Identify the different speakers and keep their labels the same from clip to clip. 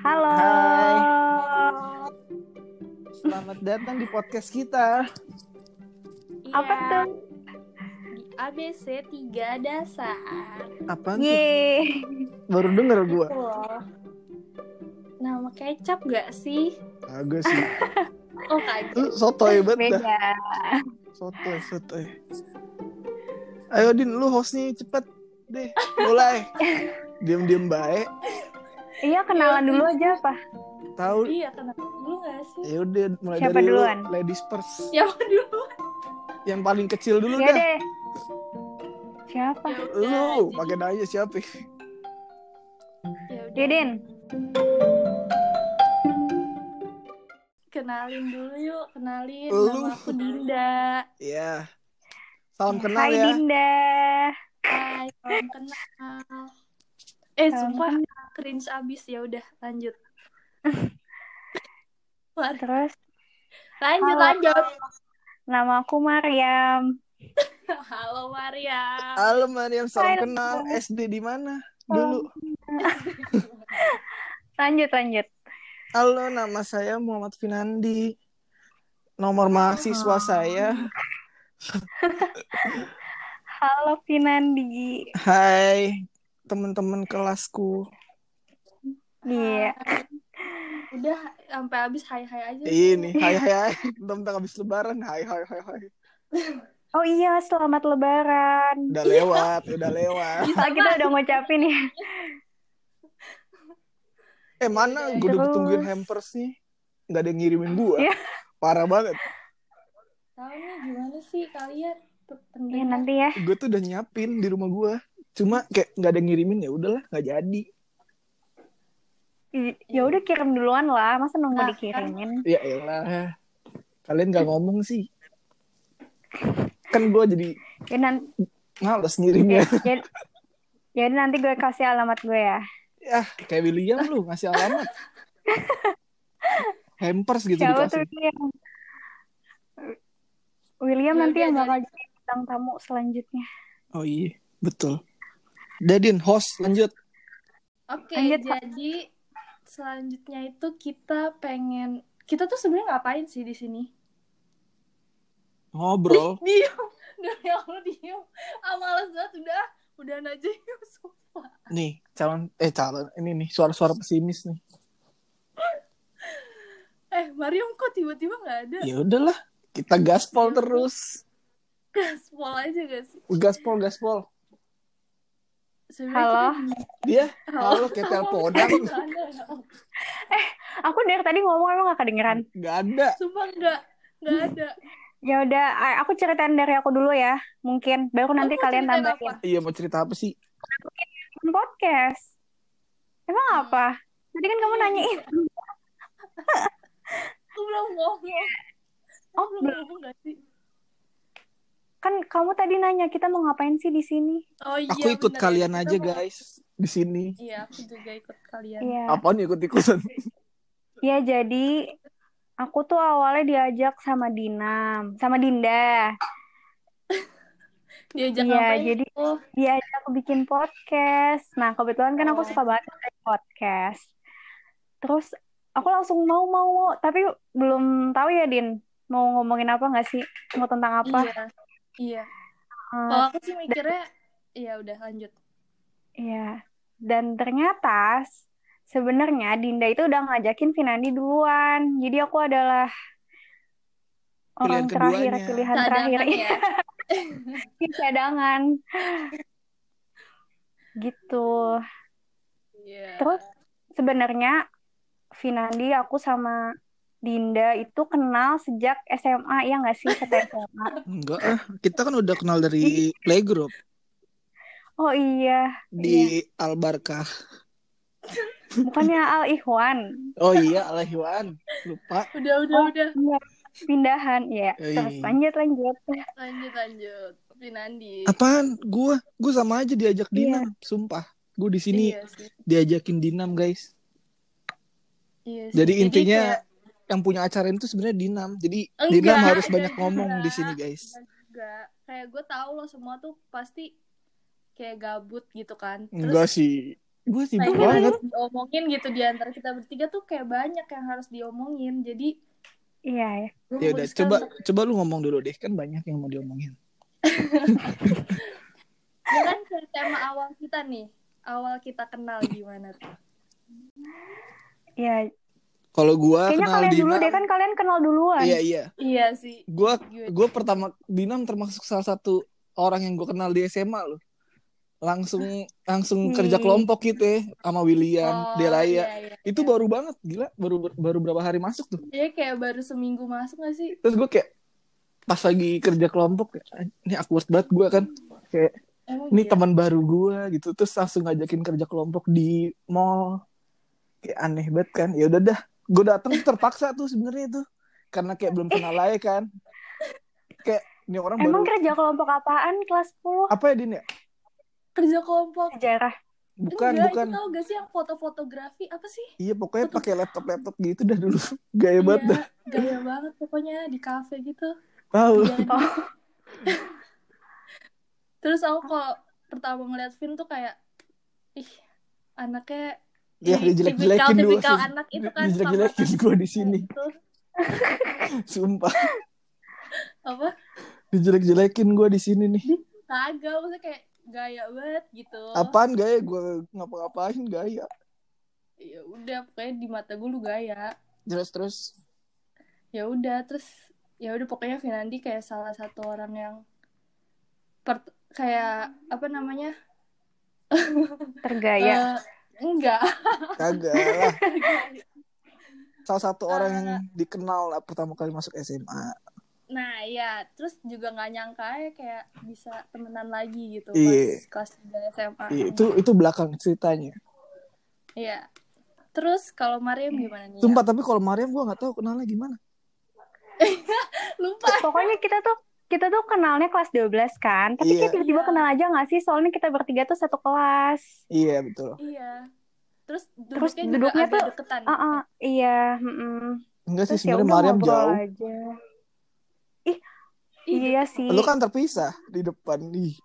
Speaker 1: Halo.
Speaker 2: Iya.
Speaker 3: Hai. Selamat datang di podcast kita.
Speaker 1: Apa
Speaker 2: Iya,
Speaker 1: tuh?
Speaker 2: Di ABC 3 dasar.
Speaker 3: Apaan tuh?
Speaker 1: Yeay.
Speaker 3: Baru denger gua.
Speaker 2: Itu loh. Nama kecap gak sih?
Speaker 3: Agus sih.
Speaker 2: Oh kaget.
Speaker 3: Lu sotoy banget dah.
Speaker 1: Beda.
Speaker 3: Sotoy, sotoy. Ayo Din, lu hostnya cepet deh. Mulai. Diam-diam baik.
Speaker 1: Iya kenalan dulu aja apa?
Speaker 3: Tahu.
Speaker 2: Iya kenapa dulu gak sih?
Speaker 3: Ya udah mulai
Speaker 1: Siapa
Speaker 3: dari
Speaker 1: duluan?
Speaker 3: lu, ladies first.
Speaker 2: Ya udah dulu.
Speaker 3: Yang paling kecil dulu
Speaker 1: Ya
Speaker 3: dah.
Speaker 1: deh. Siapa?
Speaker 2: Ya udah,
Speaker 3: Lu
Speaker 2: jadi-
Speaker 3: pakai nanya siapa?
Speaker 2: ya udah.
Speaker 1: Didin.
Speaker 2: Kenalin dulu yuk, kenalin.
Speaker 3: Lu.
Speaker 2: Nama aku Dinda.
Speaker 3: Ya. Salam kenal
Speaker 1: Hai
Speaker 3: ya.
Speaker 1: Dinda.
Speaker 2: Hai, salam kenal. Eh,
Speaker 1: Salam
Speaker 2: sumpah cringe abis ya udah lanjut. Lanjut,
Speaker 1: Terus
Speaker 2: lanjut.
Speaker 1: Halo.
Speaker 2: lanjut.
Speaker 1: nama aku Mariam.
Speaker 2: Halo Maria.
Speaker 3: Halo Mariam, salam
Speaker 1: Hai,
Speaker 3: kenal.
Speaker 1: Mariam.
Speaker 3: SD di mana?
Speaker 1: Salam.
Speaker 3: Dulu.
Speaker 1: Lanjut lanjut.
Speaker 3: Halo, nama saya Muhammad Finandi. Nomor mahasiswa saya.
Speaker 1: Halo Finandi.
Speaker 3: Hai, teman-teman kelasku.
Speaker 1: Iya.
Speaker 2: udah sampai habis hai hai aja
Speaker 3: Ini, hai hai hai. Tentang habis lebaran, hai hai hai hai.
Speaker 1: Oh iya, selamat lebaran.
Speaker 3: Udah lewat, udah lewat.
Speaker 2: Bisa
Speaker 1: Oh, kita udah ngucapin ya.
Speaker 3: Eh, mana gue udah
Speaker 1: Terus.
Speaker 3: tungguin hampers nih. Nggak ada yang ngirimin gua.
Speaker 1: Iya.
Speaker 3: Parah banget.
Speaker 2: tahu nih gimana sih kalian Pe-
Speaker 1: Iya
Speaker 2: pendengar
Speaker 1: nanti ya.
Speaker 3: Gue tuh udah nyiapin di rumah gua. Cuma kayak nggak ada yang ngirimin ya udahlah, nggak jadi.
Speaker 1: I- Ya udah kirim duluan lah, masa nunggu
Speaker 2: Nah,
Speaker 1: dikirimin.
Speaker 3: Ya elah. Kalian nggak ngomong sih. Kan gua jadi
Speaker 1: Ya nanti
Speaker 3: males ngirimnya.
Speaker 2: Iya.
Speaker 1: ya, jadi- jadi nanti gue kasih alamat gue ya.
Speaker 3: Ah, kayak William lu ngasih alamat. Hampers gitu
Speaker 1: Siapa tuh
Speaker 3: dikasih.
Speaker 1: William? William
Speaker 2: Ya
Speaker 1: nanti
Speaker 2: udah,
Speaker 1: yang
Speaker 2: jadi-
Speaker 1: bakal jadi bintang tamu selanjutnya.
Speaker 3: Oh iya, betul. Dadin, host lanjut.
Speaker 2: oke
Speaker 1: Lanjut, Kak.
Speaker 2: jadi selanjutnya itu kita pengen kita tuh sebenarnya ngapain sih di sini
Speaker 3: Ngobrol.
Speaker 2: diem udah ya Allah diem ah males banget udah udah aja yuk sumpah
Speaker 3: Nih, calon eh calon ini nih suara-suara pesimis nih.
Speaker 2: eh Mariam kok tiba-tiba nggak ada
Speaker 3: Ya udahlah, kita gaspol terus.
Speaker 2: gaspol aja gak sih
Speaker 3: Gaspol, gaspol.
Speaker 1: Halo?
Speaker 3: Dia halo kayak teleponan.
Speaker 2: Nggak ada, ya Allah.
Speaker 1: Aku dari tadi ngomong emang gak kedengeran.
Speaker 3: Gak ada.
Speaker 2: sumpah nggak nggak
Speaker 1: Hmm.
Speaker 2: ada
Speaker 1: Ya udah, a- aku ceritain dari aku dulu ya. Mungkin baru nanti
Speaker 2: Lu mau
Speaker 1: kalian
Speaker 2: ceritain
Speaker 1: tambahin.
Speaker 3: Iya, mau cerita apa sih?
Speaker 1: Kan Podcast. Emang
Speaker 2: Hmm.
Speaker 1: apa? Tadi kan
Speaker 2: Iya,
Speaker 1: kamu nanyain.
Speaker 2: aku belum ngomong
Speaker 1: Oh,
Speaker 2: belum
Speaker 1: belum.
Speaker 2: ngomong gak sih
Speaker 1: kan kamu tadi nanya kita mau ngapain sih di sini?
Speaker 2: Oh iya.
Speaker 3: Aku ikut
Speaker 2: bener ya,
Speaker 3: kalian
Speaker 2: kita
Speaker 3: aja,
Speaker 2: mau-
Speaker 3: guys. Di sini.
Speaker 2: Iya, aku juga ikut kalian.
Speaker 1: Iya.
Speaker 3: Apaan ikut-ikutan?
Speaker 1: Ya jadi aku tuh awalnya diajak sama Dinam, sama Dinda.
Speaker 2: Dia
Speaker 1: Iya,
Speaker 2: Ya, jangan ngapain Oh,
Speaker 1: jadi
Speaker 2: tuh.
Speaker 1: diajak aku bikin podcast. Nah, kebetulan kan aku
Speaker 2: Oh.
Speaker 1: suka banget kayak podcast. Terus aku langsung mau mau mau, tapi belum tahu ya Din mau ngomongin apa nggak sih, mau tentang apa?
Speaker 2: Iya. Iya.
Speaker 1: Eh,
Speaker 2: Kalau aku sih mikirnya Iya udah lanjut.
Speaker 1: Iya. Dan ternyata s- sebenarnya Dinda itu udah ngajakin Finandi duluan. Jadi aku adalah orang
Speaker 3: Pilihan
Speaker 1: terakhir,
Speaker 3: keduanya.
Speaker 1: pilihan terakhir.
Speaker 2: Cadangan ya.
Speaker 1: Iya, cadangan. Gitu.
Speaker 2: Iya.
Speaker 1: Terus sebenarnya Finandi aku sama Dinda itu kenal sejak SMA ya nggak sih kata SMA.
Speaker 3: Enggak ah, kita kan udah kenal dari playgroup
Speaker 1: Oh iya,
Speaker 3: di Al Barkah.
Speaker 1: bukannya Al Ikhwan
Speaker 3: Oh iya, Al Ikhwan. Lupa.
Speaker 2: Udah udah
Speaker 1: Oh.
Speaker 2: udah
Speaker 1: pindahan ya.
Speaker 3: Eh.
Speaker 1: Terus lanjut lanjut.
Speaker 2: lanjut lanjut. Pinandi.
Speaker 3: Apaan? Gua, gua sama aja diajak Dinam, sumpah. Gua di sini
Speaker 2: Iya sih.
Speaker 3: diajakin Dinam, guys.
Speaker 2: Iya sih.
Speaker 3: Jadi intinya
Speaker 2: kayak-
Speaker 3: yang punya acara itu sebenarnya Dinam. Jadi
Speaker 2: Enggak,
Speaker 3: Dinam harus
Speaker 2: enggak
Speaker 3: banyak ngomong
Speaker 2: juga.
Speaker 3: di sini, guys.
Speaker 2: Enggak juga. Kayak gue tahu lo semua tuh pasti kayak gabut gitu kan. Terus
Speaker 3: Enggak sih. gue
Speaker 2: Nah,
Speaker 3: sibuk
Speaker 2: itu yang
Speaker 3: banget
Speaker 2: harus diomongin gitu di antara kita bertiga tuh kayak banyak yang harus diomongin. Jadi
Speaker 1: Iya, ya.
Speaker 2: gue
Speaker 3: ya udah
Speaker 2: memutuskan
Speaker 3: coba
Speaker 2: untuk-
Speaker 3: coba lu ngomong dulu deh kan banyak yang mau diomongin
Speaker 2: Ya kan ke tema awal kita nih. Awal kita kenal gimana tuh.
Speaker 1: Iya.
Speaker 3: kalau gue
Speaker 1: Kayaknya
Speaker 3: Eh, kenal
Speaker 1: kalian dulu
Speaker 3: Dina
Speaker 1: deh kan kalian kenal duluan.
Speaker 3: iya iya
Speaker 2: Iya sih.
Speaker 3: gue
Speaker 2: Gue
Speaker 3: gue pertama Dinam termasuk salah satu orang yang gue kenal di SMA loh langsung langsung
Speaker 1: Hmm.
Speaker 3: kerja kelompok gitu ya sama William
Speaker 2: Oh,
Speaker 3: Delaya
Speaker 2: iya, iya,
Speaker 3: itu
Speaker 2: iya.
Speaker 3: baru banget gila baru baru berapa hari masuk tuh
Speaker 2: Dia Iya, kayak baru seminggu masuk gak sih?
Speaker 3: terus gue kayak pas lagi kerja kelompok kayak, "Ah, ini awkward banget gue kan kayak
Speaker 2: Emang
Speaker 3: ini
Speaker 2: iya?
Speaker 3: teman baru gue gitu terus langsung ngajakin kerja kelompok di mall kayak aneh banget kan ya udah dah gue datang terpaksa tuh sebenarnya tuh karena kayak belum kenal aja kan kayak ini orang baru
Speaker 1: Emang kerja kelompok apaan kelas 10
Speaker 3: apa ya Din ya?
Speaker 2: kerja kelompok.
Speaker 1: sejarah?
Speaker 3: Bukan,
Speaker 2: Enggak,
Speaker 3: bukan.
Speaker 2: itu tau gak sih yang foto-fotografi apa sih?
Speaker 3: Iya, pokoknya pakai laptop-laptop gitu dah dulu. Gaya banget dah.
Speaker 2: Iya, gaya banget pokoknya di kafe gitu.
Speaker 3: Tahu.
Speaker 2: Jalan. Terus aku kalau pertama ngeliat Vin tuh kayak ih anaknya
Speaker 3: Ya,
Speaker 2: ini
Speaker 3: dijelek-jelekin dulu.
Speaker 2: iya, tipikal anak itu kan
Speaker 3: Dijelek-jelekin
Speaker 2: sama
Speaker 3: gue di
Speaker 2: kayak
Speaker 3: sini.
Speaker 2: gitu.
Speaker 3: Sumpah.
Speaker 2: apa
Speaker 3: Dijelek-jelekin gue di sini nih.
Speaker 2: kagak maksudnya kayak gaya banget gitu
Speaker 3: Apaan gaya? Gue ngapa-ngapain gaya.
Speaker 2: ya udah pokoknya di mata gue lu gaya
Speaker 3: Terus-terus.
Speaker 2: ya udah terus ya udah pokoknya Finandi kayak salah satu orang yang per- kayak apa namanya
Speaker 1: Tergaya.
Speaker 2: Eh, enggak
Speaker 3: Kagak lah. Salah satu orang yang dikenal lah pertama kali masuk SMA.
Speaker 2: Nah, ya, terus juga nggak nyangka ya kayak bisa temenan lagi gitu
Speaker 3: Iya.
Speaker 2: pas kelas 3 SMA.
Speaker 3: Iya, itu itu belakang ceritanya.
Speaker 2: Iya. Terus kalau Mariam
Speaker 1: Iya.
Speaker 2: gimana nih?
Speaker 3: Sumpah, tapi kalau Mariam gue nggak tahu kenalnya gimana.
Speaker 2: Ya? Lupa.
Speaker 1: Pokoknya kita tuh kita tuh kenalnya kelas 12 kan. Tapi
Speaker 3: Iya.
Speaker 1: kita tiba-tiba
Speaker 2: Iya.
Speaker 1: kenal aja nggak sih? Soalnya kita bertiga tuh satu kelas.
Speaker 3: Iya, betul.
Speaker 2: Iya. Terus duduknya,
Speaker 1: Terus
Speaker 2: juga
Speaker 1: duduknya
Speaker 2: agak
Speaker 1: tuh-
Speaker 2: deketan.
Speaker 1: Ah, ah, iya. mm-mm.
Speaker 3: Enggak sih,
Speaker 1: Terus ya
Speaker 3: sebenarnya
Speaker 1: udah
Speaker 3: Mariam
Speaker 1: ngobrol
Speaker 3: jauh.
Speaker 1: aja.
Speaker 2: Ih,
Speaker 1: Iya sih.
Speaker 3: Lu kan terpisah di depan. Ih,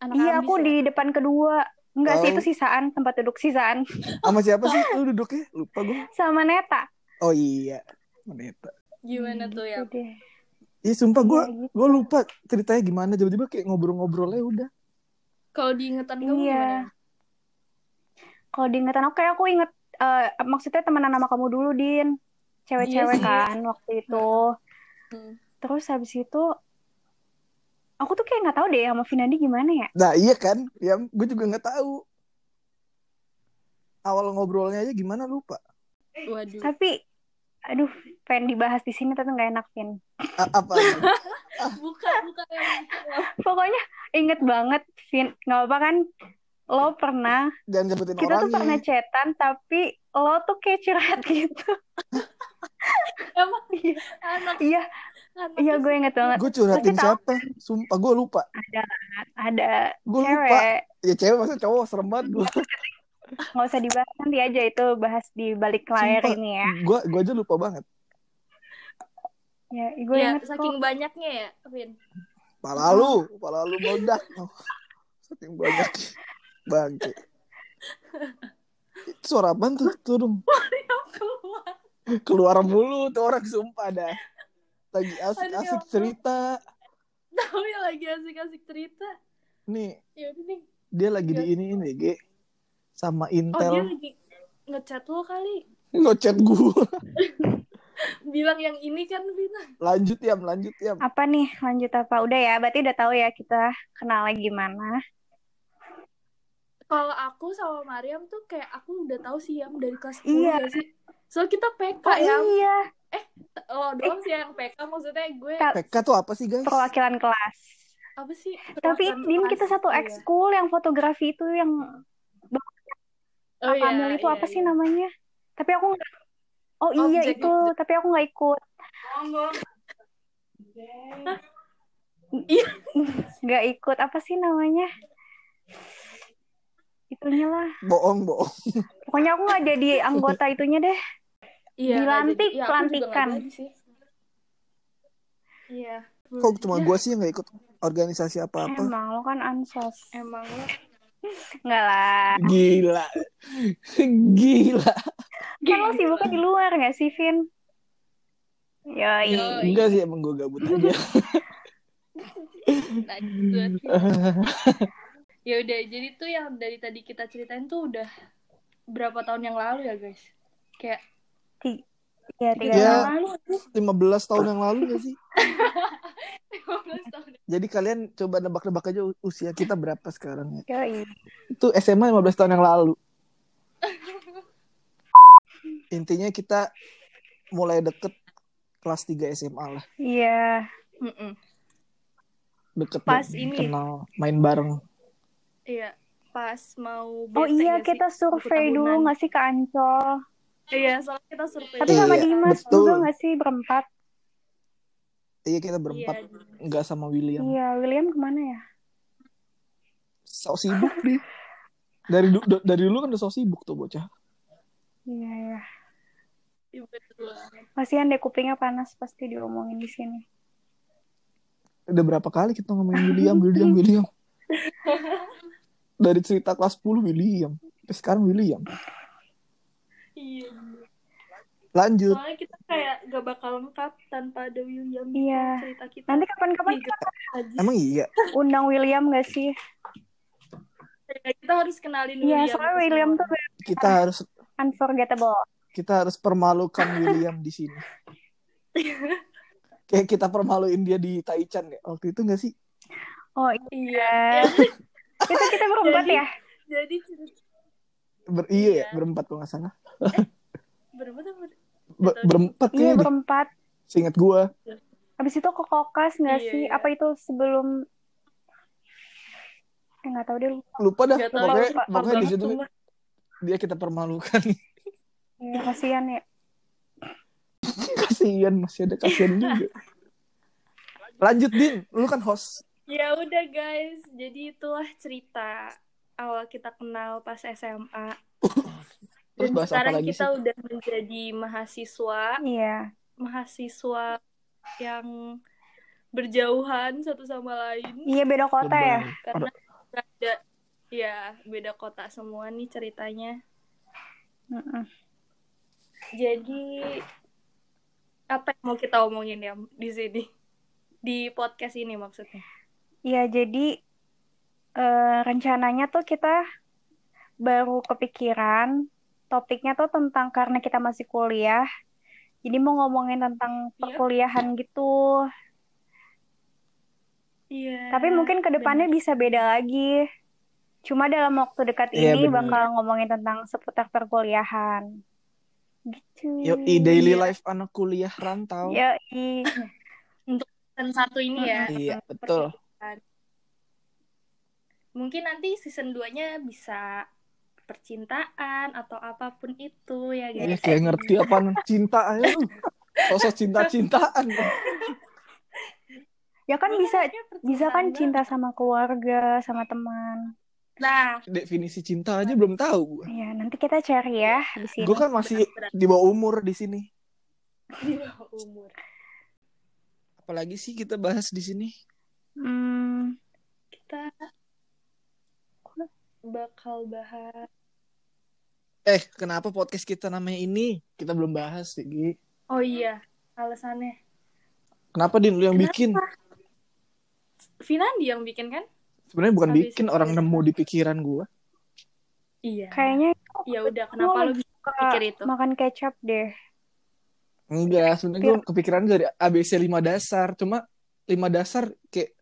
Speaker 2: anak
Speaker 1: Iya,
Speaker 2: ambis
Speaker 1: aku
Speaker 2: ya.
Speaker 1: di depan kedua. Enggak sih,
Speaker 3: Oh.
Speaker 1: itu sisaan, tempat duduk sisaan.
Speaker 3: sama siapa sih lu duduknya? Lupa gue.
Speaker 1: Sama Neta.
Speaker 3: Oh iya, Meneta.
Speaker 2: Gimana
Speaker 1: Hmm,
Speaker 2: tuh ya?
Speaker 1: gitu deh.
Speaker 3: Iya sumpah gue
Speaker 1: Iya, gitu.
Speaker 3: gue lupa ceritanya gimana tiba-tiba kayak ngobrol-ngobrolnya ya udah.
Speaker 2: Kalau diingetan kamu
Speaker 1: Iya.
Speaker 2: gimana?
Speaker 1: Kalau diingetan aku kayak aku inget eh, maksudnya temenan sama kamu dulu, Din. Cewek-cewek
Speaker 2: Iya sih.
Speaker 1: kan waktu itu.
Speaker 2: Hmm.
Speaker 1: Terus habis itu aku tuh kayak nggak tahu deh sama Finandi gimana ya.
Speaker 3: Nah iya kan, ya gue juga nggak tahu awal ngobrolnya aja gimana lupa.
Speaker 1: Iya.
Speaker 2: Waduh.
Speaker 1: Tapi aduh, pengen dibahas di sini tapi nggak enak, Vin.
Speaker 3: A- apa?
Speaker 2: Buka, buka yang
Speaker 1: Iya. Pokoknya inget banget, Vin. Nggak apa kan? Lo pernah,
Speaker 3: Jangan sebutin
Speaker 1: kita tuh
Speaker 3: orangnya.
Speaker 1: pernah chatan, tapi lo tuh kayak curhat gitu.
Speaker 2: emang
Speaker 1: Iya.
Speaker 2: anak
Speaker 1: Iya,
Speaker 2: anak.
Speaker 1: iya gue inget banget.
Speaker 3: Gue curhatin
Speaker 1: Pasti tahu.
Speaker 3: siapa? Sumpah gue lupa.
Speaker 1: Ada, ada
Speaker 3: Gue lupa.
Speaker 1: cewek. Iya.
Speaker 3: Ya cewek maksudnya cowok serem banget gue.
Speaker 1: nggak usah dibahas nanti aja itu bahas di balik layar
Speaker 3: Sumpah.
Speaker 1: ini ya.
Speaker 3: Gue gue aja lupa banget.
Speaker 1: Ya, gue
Speaker 2: Ya,
Speaker 1: inget kok.
Speaker 2: saking banyaknya ya, Vin.
Speaker 3: Pala lu, pala lu meledak. Oh, saking banyak. Bangke. Itu Suara apaan tuh? Turun.
Speaker 2: Keluar.
Speaker 3: keluar mulu tuh orang sumpah dah lagi
Speaker 2: Aduh, ya
Speaker 3: asik-asik
Speaker 2: ampun.
Speaker 3: cerita
Speaker 2: Tahu ya lagi asik-asik cerita.
Speaker 3: nih
Speaker 2: Ya udah nih.
Speaker 3: dia lagi
Speaker 2: Ya.
Speaker 3: di ini ini G sama
Speaker 2: Oh, dia
Speaker 3: Intel
Speaker 2: lagi ngechat lo kali.
Speaker 3: ngocet gua
Speaker 2: bilang yang ini kan Vina
Speaker 3: lanjut ya lanjut ya
Speaker 1: Apa nih lanjut apa? Udah ya, berarti udah tahu ya kita kenalnya gimana.
Speaker 2: kalau aku sama Mariam tuh kayak aku udah tahu sih yang dari kelas 10
Speaker 1: Iya.
Speaker 2: gak sih soal kita PK
Speaker 1: Oh
Speaker 2: ya
Speaker 1: iya,
Speaker 2: oh doang sih yang PK maksudnya gue
Speaker 1: Ta-
Speaker 3: PK tuh apa sih guys
Speaker 1: perwakilan kelas.
Speaker 2: apa sih
Speaker 1: Tapi
Speaker 2: perwakilan
Speaker 1: Din
Speaker 2: kelas,
Speaker 1: kita satu
Speaker 2: iya.
Speaker 1: ekskul yang fotografi itu yang
Speaker 2: oh, iya,
Speaker 1: Kamil itu
Speaker 2: iya,
Speaker 1: apa sih
Speaker 2: iya.
Speaker 1: namanya? Tapi aku nggak- Oh iya
Speaker 2: Objek,
Speaker 1: itu,
Speaker 2: objek.
Speaker 1: tapi aku nggak ikut.
Speaker 2: Oh, Iya.
Speaker 1: Nggak ikut apa sih namanya? Itunya lah.
Speaker 3: bohong bohong
Speaker 1: Pokoknya aku nggak jadi anggota itunya deh.
Speaker 2: Iya, nggak jadi.
Speaker 1: Dilantik,
Speaker 2: Iya, aku juga nggak
Speaker 1: pelantikan.
Speaker 2: jadi sih. iya
Speaker 3: kok cuma
Speaker 2: Ya,
Speaker 3: gua sih yang nggak ikut organisasi apa apa
Speaker 1: Emang lo kan Eh, ansos.
Speaker 2: emang lo
Speaker 1: Enggak lah.
Speaker 3: Gila. Gila.
Speaker 1: Kan lo sibuknya di luar nggak sih, Vin?
Speaker 2: Yoi.
Speaker 1: Yoi.
Speaker 3: Enggak sih emang gue gabut aja.
Speaker 2: Lanjut. Ya udah, jadi tuh yang dari tadi kita ceritain tuh udah berapa tahun yang lalu ya, guys? Kayak
Speaker 1: Ya, tiga
Speaker 2: Iya.
Speaker 3: Ya.
Speaker 1: tahun.
Speaker 2: lalu
Speaker 3: 15 tahun yang lalu gak sih?
Speaker 2: 15 tahun.
Speaker 3: Jadi kalian coba nebak-nebak aja usia kita berapa sekarang ya.
Speaker 1: Yoi.
Speaker 3: Itu SMA 15 tahun yang lalu. Intinya kita mulai deket kelas 3 SMA lah.
Speaker 1: Iya.
Speaker 2: Mm-mm.
Speaker 3: Deket
Speaker 2: Pas
Speaker 3: dong,
Speaker 2: ini.
Speaker 3: kenal, main bareng.
Speaker 2: Iya, pas mau
Speaker 1: Oh
Speaker 2: bete
Speaker 1: iya,
Speaker 2: nggak sih?
Speaker 1: kita survei
Speaker 2: Satu
Speaker 1: dulu
Speaker 2: tahunan.
Speaker 1: nggak sih ke Ancol?
Speaker 2: Iya, soalnya kita survei. ya.
Speaker 1: Tapi sama
Speaker 3: Iya,
Speaker 1: Dimas
Speaker 3: betul.
Speaker 1: juga nggak sih berempat?
Speaker 3: Iya kita
Speaker 2: Iya,
Speaker 3: berempat. Enggak sama William.
Speaker 1: Iya, William kemana ya?
Speaker 3: Sok sibuk deh. Dari du- da- dari dulu kan udah sok sibuk tuh bocah.
Speaker 1: Iya, iya.
Speaker 2: iya, betul.
Speaker 1: Kasihan deh kupingnya panas pasti diomongin di sini.
Speaker 3: Udah berapa kali kita ngomongin William, William, William. Dari cerita kelas 10 William. Sampai sekarang William.
Speaker 2: Iya.
Speaker 3: Lanjut.
Speaker 2: Soalnya kita kayak gak bakal lengkap tanpa ada William di
Speaker 1: Iya.
Speaker 2: dalam cerita kita. Iya,
Speaker 1: Nanti kapan-kapan kita
Speaker 2: Aji.
Speaker 3: Emang iya.
Speaker 1: undang William nggak sih?
Speaker 2: Iya, kita harus kenalin William.
Speaker 1: Iya, soalnya
Speaker 2: ke
Speaker 1: William
Speaker 2: semua
Speaker 1: tuh
Speaker 3: Kita harus
Speaker 1: unforgettable.
Speaker 3: kita harus permalukan William di sini. Kayak kita permaluin dia di Taichan ya. Waktu itu gak sih?
Speaker 1: Oh
Speaker 2: orang. Iya.
Speaker 1: iya. itu kita berempat
Speaker 2: Jadi-
Speaker 1: ya?
Speaker 2: Jadi cerita
Speaker 3: Ber- iya ya,
Speaker 2: Iya.
Speaker 3: berempat kalau nggak salah.
Speaker 2: berapa tuh? Ber-
Speaker 3: Ber- berempat
Speaker 1: Iya,
Speaker 3: kayaknya deh,
Speaker 1: berempat.
Speaker 3: seingat gue.
Speaker 1: Habis itu ke kokas nggak
Speaker 2: Iya,
Speaker 1: sih?
Speaker 2: iya.
Speaker 1: Apa itu sebelum Eh, nggak tahu deh lupa.
Speaker 3: Lupa dah.
Speaker 2: Gak tahu.
Speaker 3: Pokoknya,
Speaker 1: lupa.
Speaker 3: pokoknya di
Speaker 2: banget
Speaker 3: situ
Speaker 2: semua.
Speaker 3: dia kita permalukan.
Speaker 1: Iya, kasihan ya.
Speaker 3: kasihan masih ada kasihan juga. Lanjut Din, lu kan host.
Speaker 2: Ya udah guys, jadi itulah cerita awal kita kenal pas SMA.
Speaker 3: Terus
Speaker 2: Dan
Speaker 3: bahas apa
Speaker 2: sekarang
Speaker 3: lagi
Speaker 2: kita
Speaker 3: sih?
Speaker 2: udah menjadi mahasiswa,
Speaker 1: Iya.
Speaker 2: mahasiswa yang berjauhan satu sama lain
Speaker 1: Iya beda kota ya.
Speaker 2: karena ada ya beda kota semua nih ceritanya.
Speaker 1: Mm-mm.
Speaker 2: Jadi apa yang mau kita omongin ya di sini di podcast ini maksudnya?
Speaker 1: Iya, jadi eh, rencananya tuh kita baru kepikiran topiknya tuh tentang karena kita masih kuliah. Jadi mau ngomongin tentang
Speaker 2: Iya.
Speaker 1: perkuliahan gitu.
Speaker 2: Iya.
Speaker 1: Tapi mungkin ke depannya bisa beda lagi. Cuma dalam waktu dekat
Speaker 3: Iya,
Speaker 1: ini
Speaker 3: bener.
Speaker 1: bakal ngomongin tentang seputar perkuliahan. Gitu.
Speaker 3: Yoi, daily
Speaker 2: Iya.
Speaker 3: life anak kuliah rantau.
Speaker 1: Iya. Yoi.
Speaker 2: season satu ini ya.
Speaker 3: Iya, betul.
Speaker 2: Mungkin nanti season 2-nya bisa percintaan atau apapun itu ya
Speaker 3: Iya,
Speaker 2: guys.
Speaker 3: kayak ngerti apa cinta aja lu. Sosok cinta-cintaan.
Speaker 1: Ya kan
Speaker 2: Iya,
Speaker 1: bisa
Speaker 2: kayak percintaan
Speaker 1: bisa kan
Speaker 2: banget.
Speaker 1: cinta sama keluarga, sama teman.
Speaker 2: Nah,
Speaker 3: Definisi cinta aja belum tahu.
Speaker 1: Ya, nanti kita cari ya habis ini.
Speaker 3: Gue kan masih di bawah umur di sini.
Speaker 2: di bawah umur.
Speaker 3: Apalagi sih kita bahas di sini?
Speaker 1: Hmm,
Speaker 2: Kita bakal bahas
Speaker 3: Eh, kenapa podcast kita namanya ini? Kita belum bahas, Digi.
Speaker 2: Oh iya, alasannya
Speaker 3: Kenapa Din lu yang
Speaker 2: Kenapa?
Speaker 3: bikin?
Speaker 2: Finandi yang bikin kan?
Speaker 3: Sebenarnya bukan
Speaker 2: Habis
Speaker 3: bikin,
Speaker 2: itu.
Speaker 3: orang nemu di pikiran gua.
Speaker 2: Iya.
Speaker 1: kayaknya
Speaker 2: Ya udah, kenapa lu
Speaker 1: suka
Speaker 2: pikir itu?
Speaker 1: makan kecap deh.
Speaker 3: Enggak, sebenarnya gue kepikiran dari ABC 5 dasar. Cuma 5 dasar kayak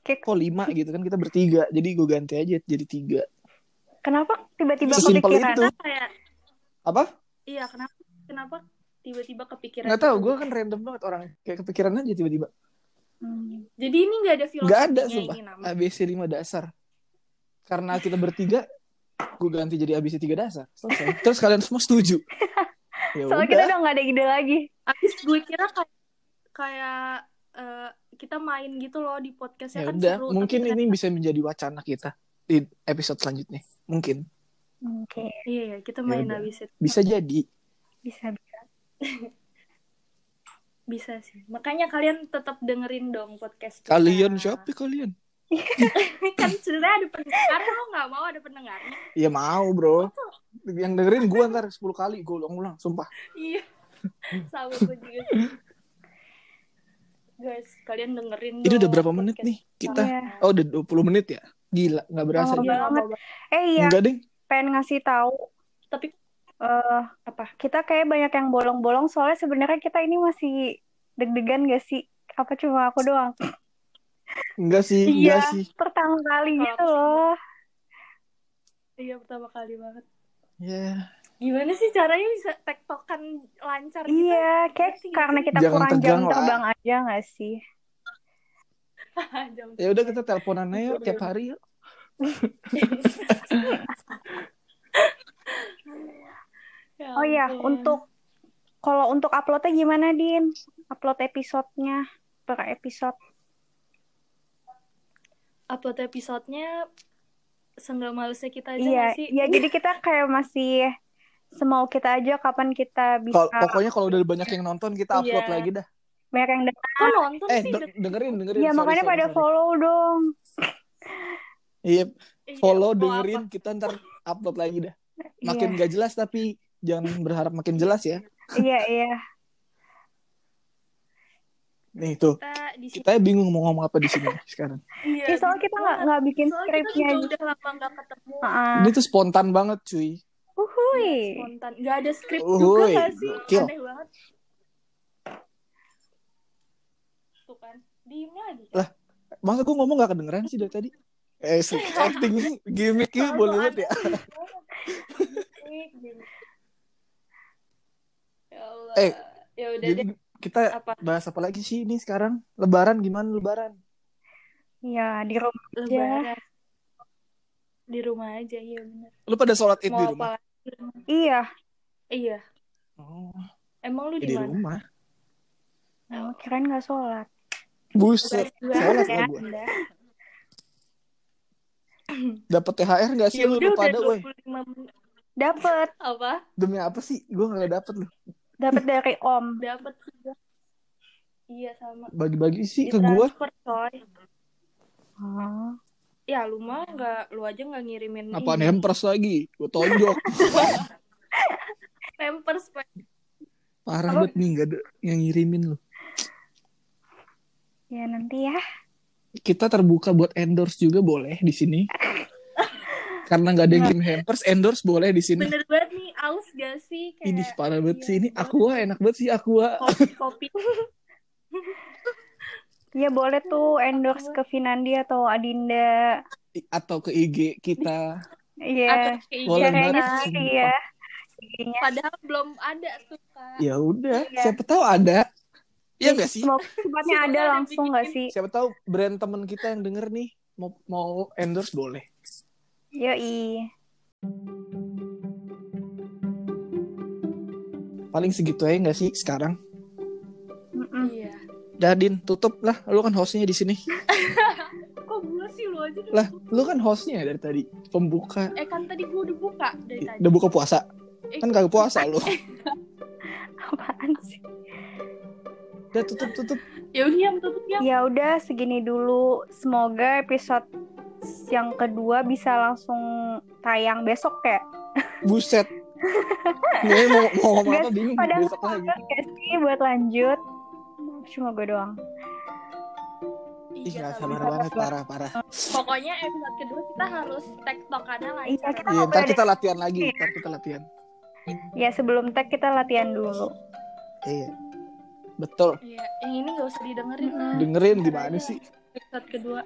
Speaker 1: Kayak-
Speaker 3: kok 5 gitu kan kita bertiga. Jadi gue ganti aja jadi 3.
Speaker 1: Kenapa tiba-tiba
Speaker 3: Sesimpel
Speaker 1: kepikiran?
Speaker 3: itu.
Speaker 2: Kenapa kayak
Speaker 3: Apa?
Speaker 2: iya, kenapa kenapa tiba-tiba kepikiran?
Speaker 3: Enggak tahu,
Speaker 2: itu?
Speaker 3: gue kan random banget orang. Kayak kepikiran aja tiba-tiba.
Speaker 1: Hmm.
Speaker 2: Jadi ini nggak ada filosofinya
Speaker 3: Enggak ada, sumpah.
Speaker 2: ini nama.
Speaker 3: ABC 5 dasar. Karena kita bertiga, gue ganti jadi ABC 3 dasar. Selesai. Terus kalian semua setuju. Ya
Speaker 1: Soalnya kita
Speaker 3: udah.
Speaker 1: udah nggak ada ide lagi.
Speaker 2: Abis gue kira kayak kayak eh, kita main gitu loh di podcastnya
Speaker 3: Ya
Speaker 2: kan
Speaker 3: udah,
Speaker 2: seru.
Speaker 3: mungkin
Speaker 2: tapi
Speaker 3: ini bisa menjadi wacana kita di episode selanjutnya. Mungkin
Speaker 1: Oke,
Speaker 2: ternyata- iya ya kita main
Speaker 3: udah.
Speaker 2: abis itu.
Speaker 3: bisa jadi.
Speaker 1: bisa bisa.
Speaker 2: Bisa sih. Makanya kalian tetap dengerin dong podcast. kita. Nah.
Speaker 3: Kalian siapa kalian?
Speaker 2: kan sebenarnya ada pendengar lo nggak mau ada pendengarnya
Speaker 3: Ya mau bro Yang dengerin gue ntar 10 kali Gue ulang-ulang Sumpah
Speaker 2: iya sama gue juga sih. guys kalian dengerin
Speaker 3: Ini udah
Speaker 2: dong
Speaker 3: berapa menit
Speaker 2: podcast.
Speaker 3: nih kita
Speaker 1: Iya.
Speaker 3: Oh udah 20 menit ya Gila nggak berasa
Speaker 1: Oh,
Speaker 3: Ji.
Speaker 2: Iya,
Speaker 1: banget.
Speaker 2: lama banget.
Speaker 1: Eh iya,
Speaker 3: Enggak ding
Speaker 1: pengen ngasih tahu
Speaker 2: tapi
Speaker 1: eh
Speaker 2: apa
Speaker 1: kita kayak banyak yang bolong-bolong soalnya sebenarnya kita ini masih deg-degan gak sih? Apa cuma aku doang?
Speaker 3: Enggak sih Enggak
Speaker 2: Iya.
Speaker 3: sih
Speaker 1: Pertama kali
Speaker 2: Kalau
Speaker 1: gitu
Speaker 2: aku sih
Speaker 1: loh.
Speaker 2: iya pertama kali banget
Speaker 3: Iya
Speaker 2: gimana sih caranya bisa tektokan lancar gitu
Speaker 1: Iya, kayak
Speaker 2: Ngerti nggak
Speaker 1: karena
Speaker 2: sih?
Speaker 1: kita
Speaker 3: Jangan
Speaker 1: kurang jam
Speaker 3: tegang lah.
Speaker 1: terbang aja gak sih?
Speaker 2: Jangan-
Speaker 3: Ya udah kita teleponan aja yuk, tiap hari yuk.
Speaker 2: Ya
Speaker 1: Oh iya,
Speaker 2: ampun.
Speaker 1: untuk kalau untuk uploadnya gimana Din? Upload episodenya per episode.
Speaker 2: upload episodenya seenggak malesnya kita aja
Speaker 1: Iya,
Speaker 2: nggak sih
Speaker 1: iya jadi kita kayak masih semau kita aja kapan kita bisa
Speaker 3: Kalau- pokoknya kalau udah banyak yang nonton kita upload
Speaker 2: Iya.
Speaker 3: lagi dah.
Speaker 1: banyak yang dengar.
Speaker 2: kok nonton
Speaker 3: Eh
Speaker 2: sih
Speaker 3: de- dengerin dengerin.
Speaker 1: Iya,
Speaker 3: Sorry,
Speaker 1: makanya
Speaker 3: sorry,
Speaker 1: pada
Speaker 3: sorry.
Speaker 1: follow dong.
Speaker 3: Iya,
Speaker 2: Iya,
Speaker 3: follow
Speaker 2: mau
Speaker 3: dengerin
Speaker 2: apa?
Speaker 3: kita ntar upload lagi dah.
Speaker 1: Iya.
Speaker 3: Makin gak jelas tapi jangan berharap makin jelas ya.
Speaker 1: Iya, iya.
Speaker 3: Nih tuh
Speaker 2: kita di sini
Speaker 3: kita bingung mau ngomong apa di sini sekarang.
Speaker 2: iya,
Speaker 1: Ih, soalnya kita nggak nggak bikin
Speaker 2: Soalnya
Speaker 1: skripnya.
Speaker 2: kita juga udah lama nggak ketemu
Speaker 1: Heeh.
Speaker 3: Ini tuh spontan banget cuy.
Speaker 1: Uhuy.
Speaker 2: spontan nggak ada skrip juga
Speaker 3: Uhuy,
Speaker 2: nggak sih
Speaker 3: gokil.
Speaker 2: aneh banget tuh kan diem lagi kan?
Speaker 3: Lah, iya, Masa gue ngomong gak kedengeran sih dari tadi? Eh, se- acting gimmick ini
Speaker 2: Soalnya
Speaker 3: boleh
Speaker 2: lu
Speaker 3: lihat ya.
Speaker 2: aneh banget. Gini. ya Allah
Speaker 3: Eh,
Speaker 2: ya udah deh
Speaker 3: Jadi kita
Speaker 2: apa
Speaker 3: bahas apa lagi sih ini sekarang? Lebaran gimana lebaran?
Speaker 1: Iya, di rumah.
Speaker 2: lebaran di rumah aja iya benar
Speaker 3: Lu pada sholat id Eh, di
Speaker 2: mau apa
Speaker 3: rumah?
Speaker 2: lagi di rumah?
Speaker 1: Iya.
Speaker 2: iya
Speaker 3: Oh,
Speaker 2: emang lu
Speaker 3: ya di
Speaker 2: di mana
Speaker 3: rumah.
Speaker 1: Oh, kirain nggak sholat.
Speaker 2: kan
Speaker 3: Buset,
Speaker 2: Lebaran.
Speaker 3: sholat
Speaker 1: Ya,
Speaker 3: lah gue. Dapat THR gak sih
Speaker 2: Ya
Speaker 3: Iya, lu
Speaker 2: udah udah
Speaker 3: pada weh?
Speaker 2: 25 menit
Speaker 1: Dapat,
Speaker 2: apa
Speaker 3: Demi apa sih? Gue gak dapet lu.
Speaker 1: dapat dari Om.
Speaker 2: dapat sudah iya sama
Speaker 3: Bagi-bagi sih ke gue.
Speaker 2: ditransfer coy
Speaker 1: Oh,
Speaker 2: ya lu mah nggak lu aja nggak ngirimin
Speaker 3: Apaan
Speaker 2: ini.
Speaker 3: hampers lagi? Gue tonjok.
Speaker 2: pampers Pak.
Speaker 3: Parah
Speaker 1: Apa?
Speaker 3: banget nih gak ada yang ngirimin lu.
Speaker 1: Ya nanti ya.
Speaker 3: Kita terbuka buat endorse juga boleh di sini. Karena gak ada yang ngirim hampers, endorse boleh di sini.
Speaker 2: bener banget nih aus gak sih kayak
Speaker 3: Ini parah banget
Speaker 2: iya,
Speaker 3: sih. Ini
Speaker 2: boleh.
Speaker 3: aqua enak banget sih aqua.
Speaker 2: kopi kopi
Speaker 1: Ya boleh tuh endorse ke Finandi atau Adinda.
Speaker 3: Atau ke IG kita.
Speaker 1: Iya.
Speaker 2: atau kayak
Speaker 3: Boleh
Speaker 1: Ya, kayaknya
Speaker 3: banget,
Speaker 1: gitu
Speaker 3: sumpah.
Speaker 1: ya. Kayaknya.
Speaker 2: padahal belum ada tuh kak
Speaker 3: Ya udah,
Speaker 1: Iya.
Speaker 3: siapa tahu ada. Iya gak sih?
Speaker 1: Semoga cepatnya ada
Speaker 2: Semoga
Speaker 1: langsung nggak sih?
Speaker 3: Siapa tahu brand temen kita yang denger nih mau mau endorse boleh.
Speaker 1: Yoi.
Speaker 3: Paling segitu aja nggak sih sekarang?
Speaker 1: Mm-mm.
Speaker 2: iya
Speaker 3: Dadin tutup lah, lu kan hostnya di sini.
Speaker 2: kok gue sih lu aja dulu
Speaker 3: Lah, lu kan hostnya dari tadi pembuka.
Speaker 2: eh kan tadi gue udah buka dari tadi
Speaker 3: Iya, Udah buka puasa?
Speaker 2: Eh,
Speaker 3: Kan kagak puasa lu.
Speaker 1: Apaan sih?
Speaker 3: Udah tutup tutup.
Speaker 2: ya udah yang tutup yang
Speaker 1: Ya udah segini dulu. Semoga episode yang kedua bisa langsung tayang besok ya.
Speaker 3: Buset. Nih mau, mau ngomong apa
Speaker 1: Guys,
Speaker 3: bingung
Speaker 1: Padahal
Speaker 3: Hmm, besok lagi.
Speaker 1: semangat gak sih buat lanjut? Cuma gue doang.
Speaker 3: Ih,
Speaker 2: Iya,
Speaker 3: gak
Speaker 2: sama.
Speaker 3: sabar banget parah parah.
Speaker 2: pokoknya episode kedua kita harus tektokannya lagi
Speaker 1: Iya, kita
Speaker 3: Iya,
Speaker 1: ngobrol
Speaker 3: ntar
Speaker 1: deh.
Speaker 3: kita latihan lagi, ntar kita latihan.
Speaker 1: Ya sebelum tag kita latihan dulu.
Speaker 3: Iya. Betul.
Speaker 2: Iya, yang ini gak usah didengerin lah. Iya,
Speaker 3: Dengerin gimana sih?
Speaker 2: Episode kedua.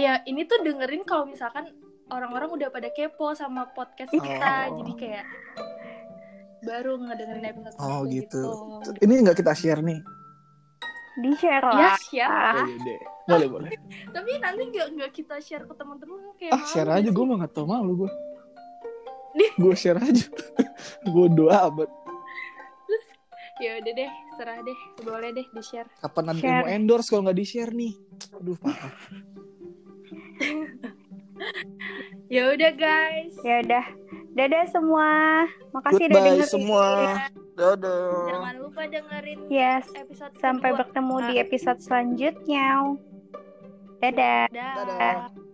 Speaker 2: Ya, ini tuh dengerin kalau misalkan orang-orang udah pada kepo sama podcast kita.
Speaker 3: Oh.
Speaker 2: Jadi kayak baru ngedengerin episode
Speaker 3: Oh,
Speaker 2: satu
Speaker 3: gitu. Ini nggak kita share nih.
Speaker 1: Di share
Speaker 2: Ya,
Speaker 1: lah.
Speaker 2: share.
Speaker 3: Oh, iya deh. Boleh boleh.
Speaker 2: Tapi nanti gak, nggak kita share ke teman-teman kayak
Speaker 3: Ah
Speaker 2: malu
Speaker 3: share
Speaker 2: nggak
Speaker 3: aja
Speaker 2: sih?
Speaker 3: gue mah gak tau malu gue
Speaker 2: Iya, Nih.
Speaker 3: Gue share aja Gue doa amat
Speaker 2: Terus ya udah deh, serah deh. Boleh deh di-share.
Speaker 3: Kapan nanti
Speaker 1: Share.
Speaker 3: mau endorse kalau gak di share nih Aduh parah
Speaker 2: Ya udah guys.
Speaker 1: Ya udah. Dadah semua. Makasih udah
Speaker 3: Goodbye
Speaker 1: dengerin.
Speaker 3: semua Dadah
Speaker 2: Jangan lupa dengerin
Speaker 1: Yes.
Speaker 2: episode
Speaker 1: Sampai
Speaker 2: kedua.
Speaker 1: bertemu di episode selanjutnya.
Speaker 4: Dadah.
Speaker 5: Dah.
Speaker 2: Dadah.